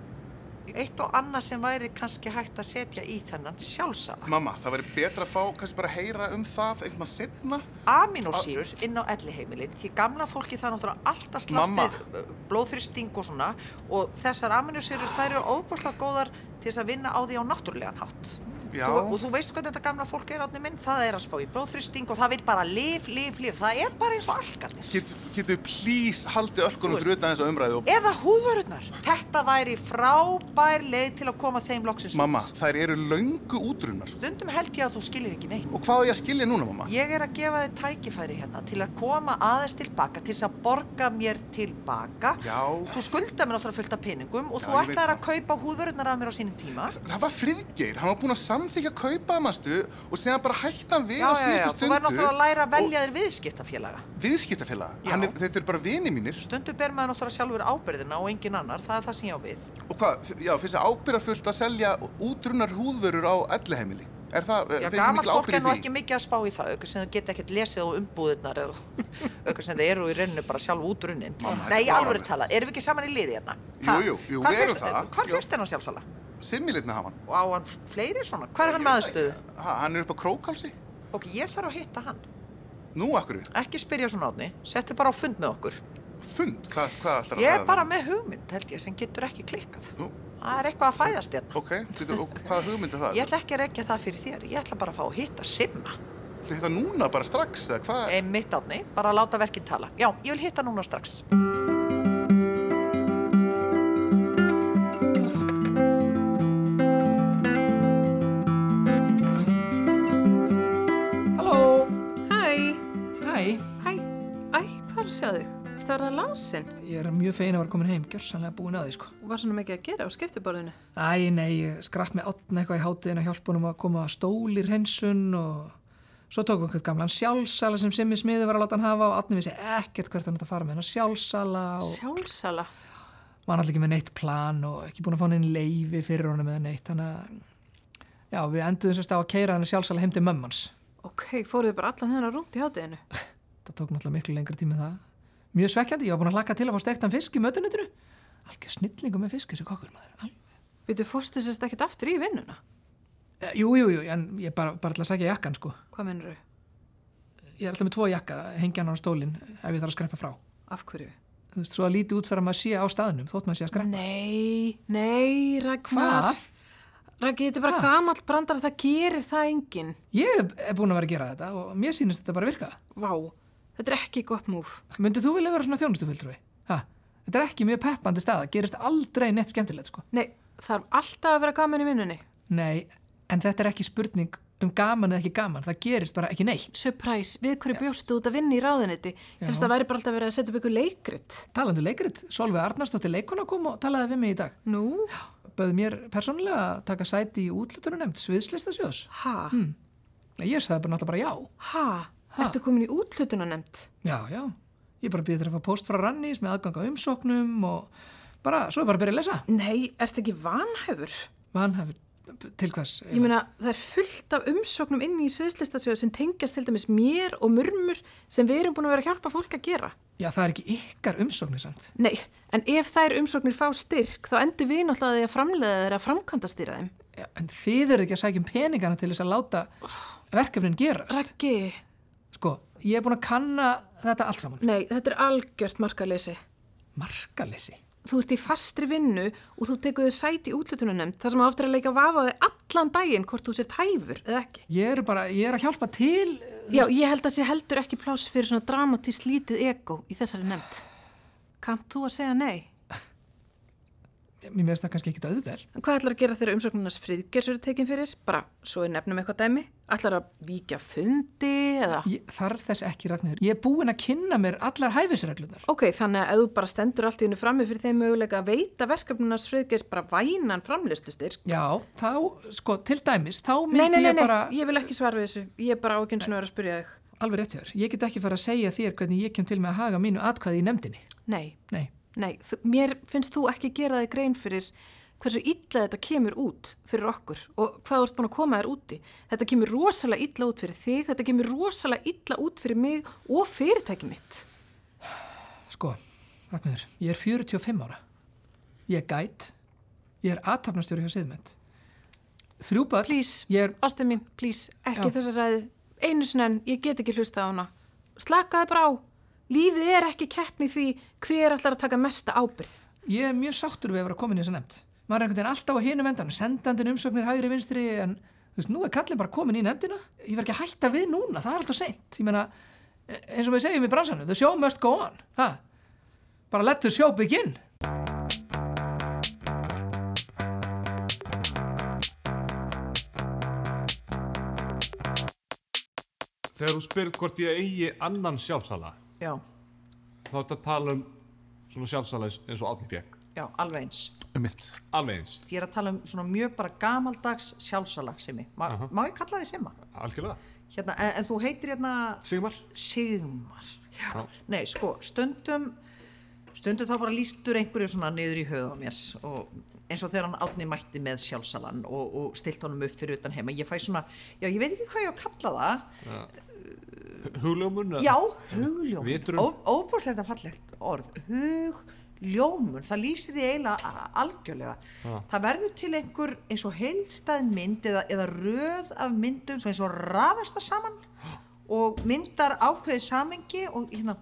[SPEAKER 8] eitt og annað sem væri kannski hægt að setja í þennan sjálfsala.
[SPEAKER 4] mamma, það væri betra að fá, kannski bara að heyra um það einhvern veginn setna.
[SPEAKER 8] Aminosýrur inn á elliheimilin, því gamla fólki það er náttúrulega alltaf
[SPEAKER 4] Mamma.
[SPEAKER 8] slaft við eh, blóðþrýsting og svona og þessar aminosýrur þær eru óbúslega góðar til þess að vinna á því á náttúrulegan hátt.
[SPEAKER 4] Já,
[SPEAKER 8] Þú, og þú veist hvernig þetta gamla fólk er átni minn, það er að spá í blóðþrýsting og það vil bara lif, lif, lif, það er bara eins og algarnir.
[SPEAKER 4] Get, getum við plís haldið öllkunum
[SPEAKER 8] Þú
[SPEAKER 4] fyrir utan þessa umræðu og
[SPEAKER 8] Eða húðvörurnar. Þetta væri frábær leið til að koma þeim loksins
[SPEAKER 4] mamma,
[SPEAKER 8] út.
[SPEAKER 4] þær eru löngu útrunnar sko.
[SPEAKER 8] Stundum held ég að þú skilir ekki neitt.
[SPEAKER 4] og hvað á ég að skilja núna mamma?
[SPEAKER 8] Ég er að gefa þið tækifæri hérna til að koma aðeins tilbaka, til þess að borga mér tilbaka.
[SPEAKER 4] Já,
[SPEAKER 8] Þú skulda mér náttúrulega fullt af peningum og
[SPEAKER 4] Já,
[SPEAKER 8] þú
[SPEAKER 4] ég veit
[SPEAKER 8] ætlaðir að
[SPEAKER 4] það.
[SPEAKER 8] kaupa húðvörurnar af mér á sínum tíma.
[SPEAKER 4] það var friðgeir, hann var búinn að samþykja að kaupa það mannstu og segja bara hættan við á síðustu
[SPEAKER 8] þú verður
[SPEAKER 4] stundu
[SPEAKER 8] náttúrulega að læra að velja þér viðskiptafélaga.
[SPEAKER 4] og viðskiptafélaga, Hann
[SPEAKER 8] Já.
[SPEAKER 4] er, þetta eru bara vini mínir
[SPEAKER 8] Stundu ber maður náttúrulega sjálfur ábyrðina og engin annar, það er það sem ég á við.
[SPEAKER 4] og hvað, f- já, finnst það ábyrðarfullt að selja útrunnar húðvörur á elliheimili er það,
[SPEAKER 8] Já,
[SPEAKER 4] finnst það
[SPEAKER 8] gamalt
[SPEAKER 4] mikil
[SPEAKER 8] fólk er
[SPEAKER 4] ábyrð
[SPEAKER 8] nú
[SPEAKER 4] í
[SPEAKER 8] ekki
[SPEAKER 4] því?
[SPEAKER 8] mikið að spá í það, auðvitað sem þau geta ekkert lesið á umbúðirnar eða auðvitað sem þau eru í rauninu bara sjálf út raunin.
[SPEAKER 4] Mamma, þetta
[SPEAKER 8] Nei,
[SPEAKER 4] er
[SPEAKER 8] alveg
[SPEAKER 4] fáránlegt.
[SPEAKER 8] talað, erum við ekki saman í liði hérna?
[SPEAKER 4] Jú, jú, jú,
[SPEAKER 8] Hvar
[SPEAKER 4] við erum
[SPEAKER 8] fékkst-
[SPEAKER 4] það.
[SPEAKER 8] Hvar
[SPEAKER 4] Jú.
[SPEAKER 8] fyrst hennar sjálfsala?
[SPEAKER 4] simmilitna hafa hann
[SPEAKER 8] Og á hann fleiri svona? Hvar er hann með aðstöðu?
[SPEAKER 4] ha, hann er upp á krókálsi,
[SPEAKER 8] Ok, ég þarf að hitta hann.
[SPEAKER 4] nú akkur
[SPEAKER 8] Ekki spyrja svona átni, settu bara á fund með okkur.
[SPEAKER 4] fund, hvað, hvað ætlar
[SPEAKER 8] Ég er bara með hugmynd, held ég, sem getur ekki klikkað.
[SPEAKER 4] Nú.
[SPEAKER 8] Það er eitthvað að fæðast hérna.
[SPEAKER 4] ok, getur, og hvað hugmynd er það?
[SPEAKER 8] Ég ætla ekki að rekja það fyrir þér, ég ætla bara að fá að hitta Simma.
[SPEAKER 4] Þetta núna bara strax eða hvað?
[SPEAKER 8] Einmitt átni, bara að láta verkinn tala. Já, ég vil hitta núna strax.
[SPEAKER 1] Halló!
[SPEAKER 9] Hæ,
[SPEAKER 1] Hæ,
[SPEAKER 9] hæ, æ, hvað er að sjá þig? Ertu að verða lasin?
[SPEAKER 1] ég er mjög fegin að vera komin heim, gjörsanlega búin að því sko.
[SPEAKER 9] Þú var svona mikið að gera á skiptiborðinu.
[SPEAKER 1] Æ, nei, ég skrapp með átna eitthvað í hátiðin að hjálpa honum að koma að stóli hreinsun og svo tókum við einhvern gamlan sjálfsala sem Simmi Smiði var að láta hann hafa og átni vissi ekkert hvert hann átti að fara með hennar sjálfsala og
[SPEAKER 9] Sjálfsala.
[SPEAKER 1] var allir ekki með neitt plan og ekki búin að fá henni leifi fyrir honum eða neitt, þannig að já, við enduðum sérst á að keira henni sjálfsala heim til mömmans.
[SPEAKER 9] Ok, fóruðu bara allan þennan rúnt í hátiðinu.
[SPEAKER 1] Það tók náttúrulega miklu lengri tími en það. Mjög svekkjandi, ég var búin að hlakka til að fá stektan fisk í mötunitinu. Algjör snillingu með fisk, þessi kokkur maður. Al
[SPEAKER 9] Við þú fórstu sérst ekkert aftur í vinnuna.
[SPEAKER 1] Eh, jú, jú, jú, en ég er bara, bara ætla að sækja jakkan, sko.
[SPEAKER 9] Hvað mennur þau?
[SPEAKER 1] Ég er alltaf með tvo jakka, hengja hann á stólinn ef ég þarf að skreppa frá.
[SPEAKER 9] Af hverju?
[SPEAKER 1] Þú veist, svo að lítið út fyrir að maður sé á staðnum, þótt maður sé að skreppa.
[SPEAKER 9] Nei, nei, Ragnar.
[SPEAKER 1] Hvað?
[SPEAKER 9] Ragnar, þetta er bara
[SPEAKER 1] Ha?
[SPEAKER 9] gamall brandar, það gerir það enginn.
[SPEAKER 1] Ég er búin að vera að gera þetta og mér sýnist þetta bara virka.
[SPEAKER 9] Vá, þetta er ekki gott múf.
[SPEAKER 1] Myndið þú vilja vera svona þjónustufulltrúi? Ha? Þetta er ekki mjög peppandi staða, gerist aldrei neitt skemmtilegt, sko.
[SPEAKER 9] Nei, þarf alltaf að vera gaman í vinnunni.
[SPEAKER 1] Nei, en þetta er ekki spurning um gaman eða ekki gaman, það gerist bara ekki neitt.
[SPEAKER 9] Surprise, við hverju bjóstu út að vinna í ráðinetti? Hérst það væri bara alltaf verið að setja upp ykkur leikrit.
[SPEAKER 1] Talandi um leikrit, Solveig Arnarsdóttir leikona kom og talaði við mig í dag.
[SPEAKER 9] Nú?
[SPEAKER 1] Böði mér persónulega að taka sæti í útluturunemnd sviðslistasjóðs.
[SPEAKER 9] Ha?
[SPEAKER 1] Ég sagði bara náttúrulega bara já.
[SPEAKER 9] Mm. Ha? Ertu komin í útlutuna
[SPEAKER 1] Já, já. Ég bara býði þér að fá póst frá Rannís með aðgang á umsóknum og bara, svo er bara að byrja að lesa.
[SPEAKER 9] Nei, ertu ekki vanhæfur?
[SPEAKER 1] Vanhæfur, p- til hvers?
[SPEAKER 9] Ég meina, það er fullt af umsóknum inn í sviðslistasjóð sem tengjast til dæmis mér og murmur sem við erum búin að vera að hjálpa fólk að gera.
[SPEAKER 1] Já, það er ekki ykkar umsóknir samt.
[SPEAKER 9] Nei, en ef þær umsóknir fá styrk, þá endur við náttúrulega á því að framlega þeir að framkvæmda stýra þeim.
[SPEAKER 1] Já, en þið eru ekki að sækja um peningana til þess að láta verkefnin gerast.
[SPEAKER 9] Raggi,
[SPEAKER 1] Sko, ég er búin að kanna þetta allt saman.
[SPEAKER 9] nei, þetta er algjört markaleysi.
[SPEAKER 1] Markalessi.
[SPEAKER 9] Þú ert í fastri vinnu og þú tekur þau sæti í útlutununemnd þar sem aftur að leika vafaði allan daginn hvort þú sér tæfur eða ekki.
[SPEAKER 1] Ég er bara, ég er að hjálpa til. eh,
[SPEAKER 9] Já, ég held að sé heldur ekki pláss fyrir svona dramatís lítið ego í þessari nefnd. Kannt þú að segja nei?
[SPEAKER 1] Mér finnst það kannski ekkit auðveld.
[SPEAKER 9] En Hvað ætlar að gera þegar umsóknarnas friðgjörs eru tekin fyrir? Bara, svo við nefnum eitthvað dæmi? Ætlar að víkja fundi eða?
[SPEAKER 1] Ég, þarf þess ekki ragnir. Ég er búin að kynna mér allar hæfisreglunar.
[SPEAKER 9] Ok, þannig að ef þú bara stendur allt í hennu frammi fyrir þeim möguleika að veita verkefnunars friðgjörs bara vænan framlistustyrk?
[SPEAKER 1] Já, þá, sko, til dæmis, þá myndi
[SPEAKER 9] Nei, nei, nei,
[SPEAKER 1] ég
[SPEAKER 9] nei,
[SPEAKER 1] bara,
[SPEAKER 9] ég vil ekki svara við þessu. Ég er bara á ekki eins og vera að spyrja þig.
[SPEAKER 1] alveg rétt hjá þér, ég get ekki fara að segja þér hvernig ég kem til með að haga mínu atkvæði í nefndinni.
[SPEAKER 9] Nei,
[SPEAKER 1] Nei,
[SPEAKER 9] nei, þú- mér finnst þú ekki gera þig grein fyrir hversu illa þetta kemur út fyrir okkur og hvað þú ert búin að koma þér úti. Þetta kemur rosalega illa út fyrir þig, þetta kemur rosalega illa út fyrir mig og fyrirtæki mitt.
[SPEAKER 1] sko, Ragnhildur, ég er 45 ára. Ég er gæt, ég er aðtapnastjóri hjá siðmett. Þrjú börn,
[SPEAKER 9] Please,
[SPEAKER 1] ég er,
[SPEAKER 9] Ástæð mín, please, ekki
[SPEAKER 1] Já.
[SPEAKER 9] þessa ræðu. Einu sinni en ég get ekki hlusta á hana. Slakaði bara á. Lífið er ekki keppni í því hver ætlar að taka mesta ábyrð.
[SPEAKER 1] ég er mjög sáttur við að vera komin í þessa nefnd. Maður er einhvern veginn alltaf á hinu vendan, sendandin umsóknir hægri vinstri, en þú veist, nú er kallin bara komin í nefndina. Ég verð ekki að hætta við núna, það er alltaf seint. Ég meina, e, eins og við segjum í bransanum, the show must go on. Ha? Bara let the show begin.
[SPEAKER 10] Þegar þú spyrð hvort ég eigi annan sjálfsala,
[SPEAKER 8] Já,
[SPEAKER 10] þá ertu að tala um svona sjálfsala eins- eins og átni fekk.
[SPEAKER 8] já, alveg eins.
[SPEAKER 4] um mitt.
[SPEAKER 10] Alveg eins,
[SPEAKER 8] Ég er að tala um svona mjög bara gamaldags sjálfsala simmi. Ma, Má ég kalla þið simma?
[SPEAKER 10] algjörlega.
[SPEAKER 8] Hérna, en, en þú heitir hérna
[SPEAKER 10] Sigmar?
[SPEAKER 8] Sigmar.
[SPEAKER 10] Já.
[SPEAKER 8] Nei, sko, stundum, stundum þá bara lístur einhverju svona niður í höfuð á mér og eins og þegar hann átni mætti með sjálfsalan og, og stilt honum upp fyrir utan heima. Ég fæ svona, já, ég veit ekki hvað ég á að kalla það.
[SPEAKER 10] Hugljómun? eða-
[SPEAKER 8] Já, hugljómun.
[SPEAKER 10] Vitrun.
[SPEAKER 8] Óbúslega fallegt orð. Hugljómun, það lýsir því eiginlega a- algjörlega. Það verður til einhver eins og heilstæð mynd eða, eða röð af myndum sem eins og raðast það saman og myndar ákveðið samengi og hérna,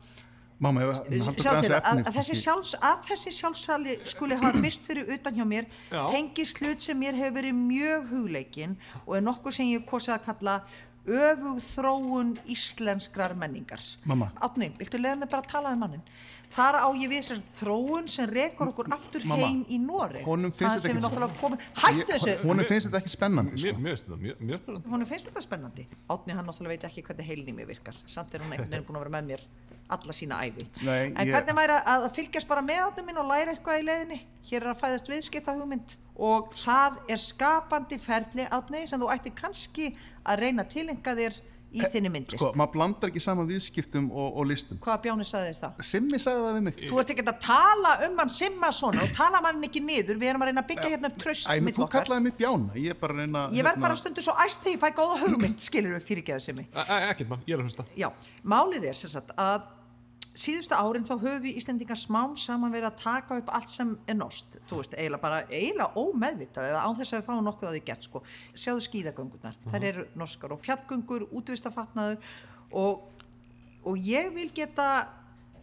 [SPEAKER 4] Mamma, ef við haldum
[SPEAKER 8] Sjá til
[SPEAKER 4] grænslega
[SPEAKER 8] að,
[SPEAKER 4] efnið.
[SPEAKER 8] að þessi sjálfs, að þessi sjálfsali skuli hafa mist fyrir utan hjá mér
[SPEAKER 10] Já.
[SPEAKER 8] tengist hlut sem mér hefur verið mjög hugleikin og er nokkuð sem ég hef kosið að kalla öfug þróun íslenskrar menningar
[SPEAKER 4] Mamma.
[SPEAKER 8] Átni, viltu leiða mig bara að tala um mannin þar á ég við þessar þróun sem rekur okkur aftur
[SPEAKER 4] Mamma,
[SPEAKER 8] heim í Noreg
[SPEAKER 4] honum finnst þetta sko.
[SPEAKER 8] þetta
[SPEAKER 4] ekki-
[SPEAKER 8] ekki komi... hættu þessu,
[SPEAKER 4] Hún finnst þetta ekki spennandi,
[SPEAKER 10] Mér
[SPEAKER 4] sko.
[SPEAKER 10] mér finnst þetta mjög mjög spennandi.
[SPEAKER 8] honum finnst þetta spennandi Átni hann náttúrulega veit ekki hvernig heilnými virkar samt er hann einhvern veginn búin að vera með mér alla sína æfi
[SPEAKER 4] Nei,
[SPEAKER 8] En
[SPEAKER 4] ég-
[SPEAKER 8] hvernig væri að að fylgjast bara með átnum minn og læra eitthvað í leiðinni? Hér er að fæðast viðskipta hugmynd og það er skapandi ferli átni sem þú ætti kannski að reyna að tilenga þér í þinni myndlist.
[SPEAKER 4] Sko, maður blandar ekki saman viðskiptum og, og listum.
[SPEAKER 8] Hvaða bjáni sagði þér það?
[SPEAKER 4] Simmi sagði það við mig.
[SPEAKER 8] Þú ert ekki að tala um hann simma svona og tala mann ekki niður, við erum að reyna að byggja hérna upp tröst
[SPEAKER 4] Eh, Æ, menn
[SPEAKER 8] mitt
[SPEAKER 4] þú
[SPEAKER 8] okkar.
[SPEAKER 4] kallaði mig bjána, ég er bara að reyna... hérna-
[SPEAKER 8] Ég verð bara stundu svo æst þegar ég fæ góða hugmynd, skilur við fyrirgeðu simmi.
[SPEAKER 10] Æ, æ, E, Ekkert mann, ég er að hlusta.
[SPEAKER 8] Já, málið er sem sagt að síðustu árin þá höfum við Íslendingar smám saman verið að taka upp allt sem er nost, þú veist, eiginlega bara eiginlega ómeðvitað eða án þess að við fáum nokkuð að því gert sko, sjáðu skíðagöngunar
[SPEAKER 10] Mhm.
[SPEAKER 8] þær eru norskar og fjallgöngur, útvistafatnaður og, og ég vil geta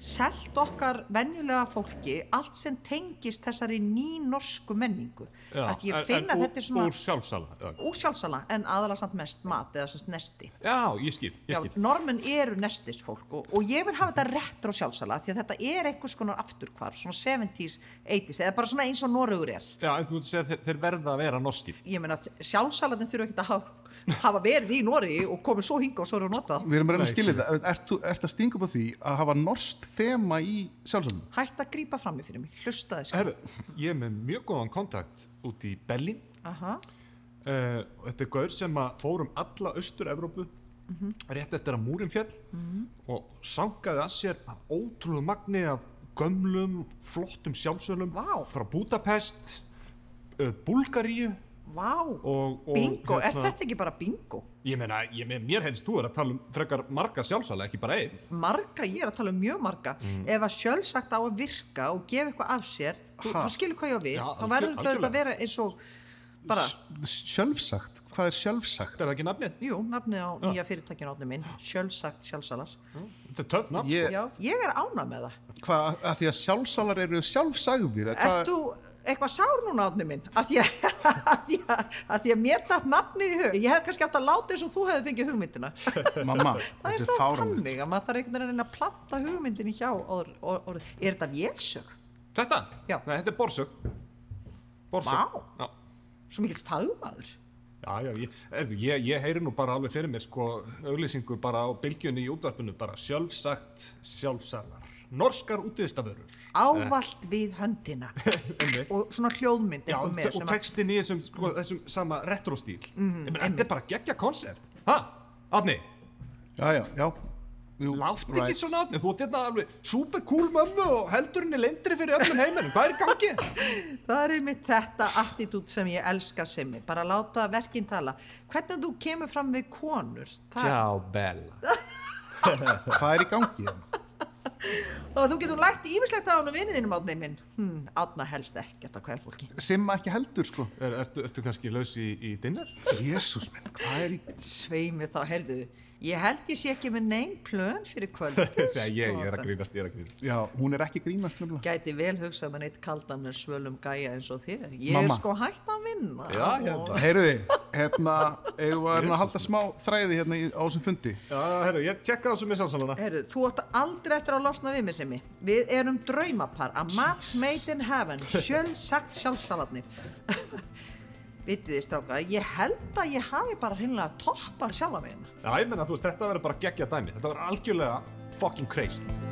[SPEAKER 8] selt okkar venjulega fólki allt sem tengist þessari ný norsku menningu,
[SPEAKER 10] Já,
[SPEAKER 8] að ég
[SPEAKER 10] en-
[SPEAKER 8] finn að
[SPEAKER 10] en úr-
[SPEAKER 8] þetta er svona
[SPEAKER 10] Úr sjálfsala. Já,
[SPEAKER 8] úr sjálfsala en aðalega samt mest mat eða sem nesti
[SPEAKER 10] Já, ég skil, ég
[SPEAKER 8] Já,
[SPEAKER 10] skil.
[SPEAKER 8] normen eru nestisfólk og, og ég vil hafa þetta réttur og sjálfsala því að þetta er einhvers konar afturkvar, svona 70s, 80s, eða bara svona eins og Noregur er.
[SPEAKER 10] Já, en þú mútti segja að þeir- þeir verða að vera norskir.
[SPEAKER 8] Ég meina, sjálfsalatin þurfa ekki að hafa, hafa verið í Noregi og komið svo hinga og svo eru að nota það.
[SPEAKER 4] Við erum að reyna að skilja þetta. Ert þú ert að stinga upp á því að hafa norskt þema í sjálfsögnum?
[SPEAKER 8] Hætt að grípa fram í fyrir mig, hlusta þess.
[SPEAKER 10] Herru, ég er með mjög góðan kontakt út í Berlín.
[SPEAKER 8] Aha,
[SPEAKER 10] Uh, þetta er gaur sem að fórum alla austur-Evrópu Mhm. rétt eftir að múrin fjall og sangaði að sér af ótrúlega magni af gömlum, flottum sjálfsölum
[SPEAKER 8] Vá.
[SPEAKER 10] frá Budapest, uh, e, Búlgaríu
[SPEAKER 8] Vá,
[SPEAKER 10] og, og
[SPEAKER 8] bingo, er
[SPEAKER 10] hérna,
[SPEAKER 8] þetta ekki bara bingo?
[SPEAKER 10] ég meina, ég, meina, mér helst þú er að tala um frekar margar sjálfsala, ekki bara einn
[SPEAKER 8] Marga, ég er að tala um mjög marga
[SPEAKER 10] Mm.
[SPEAKER 8] ef að sjálfsagt á að virka og gefa eitthvað af sér, þú,
[SPEAKER 4] Ha.
[SPEAKER 8] þú skilur hvað ég á við
[SPEAKER 10] Já,
[SPEAKER 8] þá verður
[SPEAKER 10] algjör-
[SPEAKER 8] þetta auðvitað að vera eins og bara,
[SPEAKER 4] Sjálfsagt, hvað er sjálfsagt?
[SPEAKER 10] er það ekki nafnið?
[SPEAKER 8] jú, nafnið á nýja fyrirtækinu átni minn, sjálfsagt sjálfsalar
[SPEAKER 10] Þetta er töff nafn
[SPEAKER 4] Ég,
[SPEAKER 8] Já, ég er ána með það
[SPEAKER 4] Eh, hvað, að því að sjálfsalar eru sjálfsagðir eða
[SPEAKER 8] Ert þú eitthvað sár núna átni minn? Að því að, að, því að, að, því að mér datt nafnið í hug. Ég hef kannski átt að láta eins og þú hefði fengið hugmyndina.
[SPEAKER 4] mamma,
[SPEAKER 8] Það er
[SPEAKER 4] þetta
[SPEAKER 8] svo
[SPEAKER 4] er fáránlegt
[SPEAKER 8] tannig að maður þarf einhvern veginn að planta hugmyndin í hjá orð, orð, orð. Er þetta vélsög?
[SPEAKER 10] Þetta?
[SPEAKER 8] Já.
[SPEAKER 10] Nei, þetta er borsug Borsug
[SPEAKER 8] Vá.
[SPEAKER 10] Já,
[SPEAKER 8] Svo mikill fagmaður.
[SPEAKER 10] já, já ég, erðu, ég, ég heyri nú bara alveg fyrir mér sko auglýsingu bara á bylgjunni í útvarpinu bara sjálfsagt sjálfsalar Norskar útivistaförur
[SPEAKER 4] Eh.
[SPEAKER 8] Ávallt við höndina. og svona hljóðmynd
[SPEAKER 10] Já,
[SPEAKER 8] einhver
[SPEAKER 10] og,
[SPEAKER 8] með
[SPEAKER 10] og
[SPEAKER 8] sem að... Mhm,
[SPEAKER 10] textin í þessum, sko, þessum sama retrostíl mm, Þetta er bara geggja konsept Ha? Átni,
[SPEAKER 4] já, já, já Jú,
[SPEAKER 10] látt ekki
[SPEAKER 4] right.
[SPEAKER 10] svona átni, þú ert hérna alveg super cool mömmu og heldur henni lendri fyrir öllum heiminum, hvað er í gangi?
[SPEAKER 8] Það er einmitt þetta attitút sem ég elska Simmi. Bara láta verkinn tala. Hvernig þú kemur fram við konur? Það,
[SPEAKER 10] Bella
[SPEAKER 4] hvað er í gangi? hérna?
[SPEAKER 8] og þú getur lært ímislegt á hann og vinniðinum átni minn. Hmm, átna helst ekkert að hvað fólki.
[SPEAKER 4] Simma ekki heldur sko
[SPEAKER 10] er, ertu, ertu kannski laus í, í dinner?
[SPEAKER 4] Jésús minn, hvað er í
[SPEAKER 8] Svei mér þá, heyrðu, ég held ég sé ekki með neinn plön fyrir kvöldið.
[SPEAKER 10] Þegar ég, ég er að
[SPEAKER 8] sko.
[SPEAKER 10] grínast, ég er að grínast
[SPEAKER 4] Já, hún er ekki að grínast nefnilega
[SPEAKER 8] Gæti vel hugsað með neitt kaldan en svölum gæja eins og þér. Ég
[SPEAKER 4] Mamma.
[SPEAKER 8] er sko hægt að vinna.
[SPEAKER 10] Já, hérna.
[SPEAKER 4] Heyruði, hérna, eigum við að reyna að halda smá þræði hérna í- á þessum fundi
[SPEAKER 10] Já, herru, ég tjekka þessu með sálsalana.
[SPEAKER 8] Heyrðu, þú átt aldrei eftir að losna við mig sem ég. Við erum draumapar, a match made in heaven, sjálfsagt sjálfsalarnir. Vitið þið stráka, ég held að ég hafi bara hreinlega toppað sjálfa mig hérna.
[SPEAKER 10] Já, ég menna, þú veist, þetta verður bara geggja dæmi. Þetta verður algjörlega fucking crazy.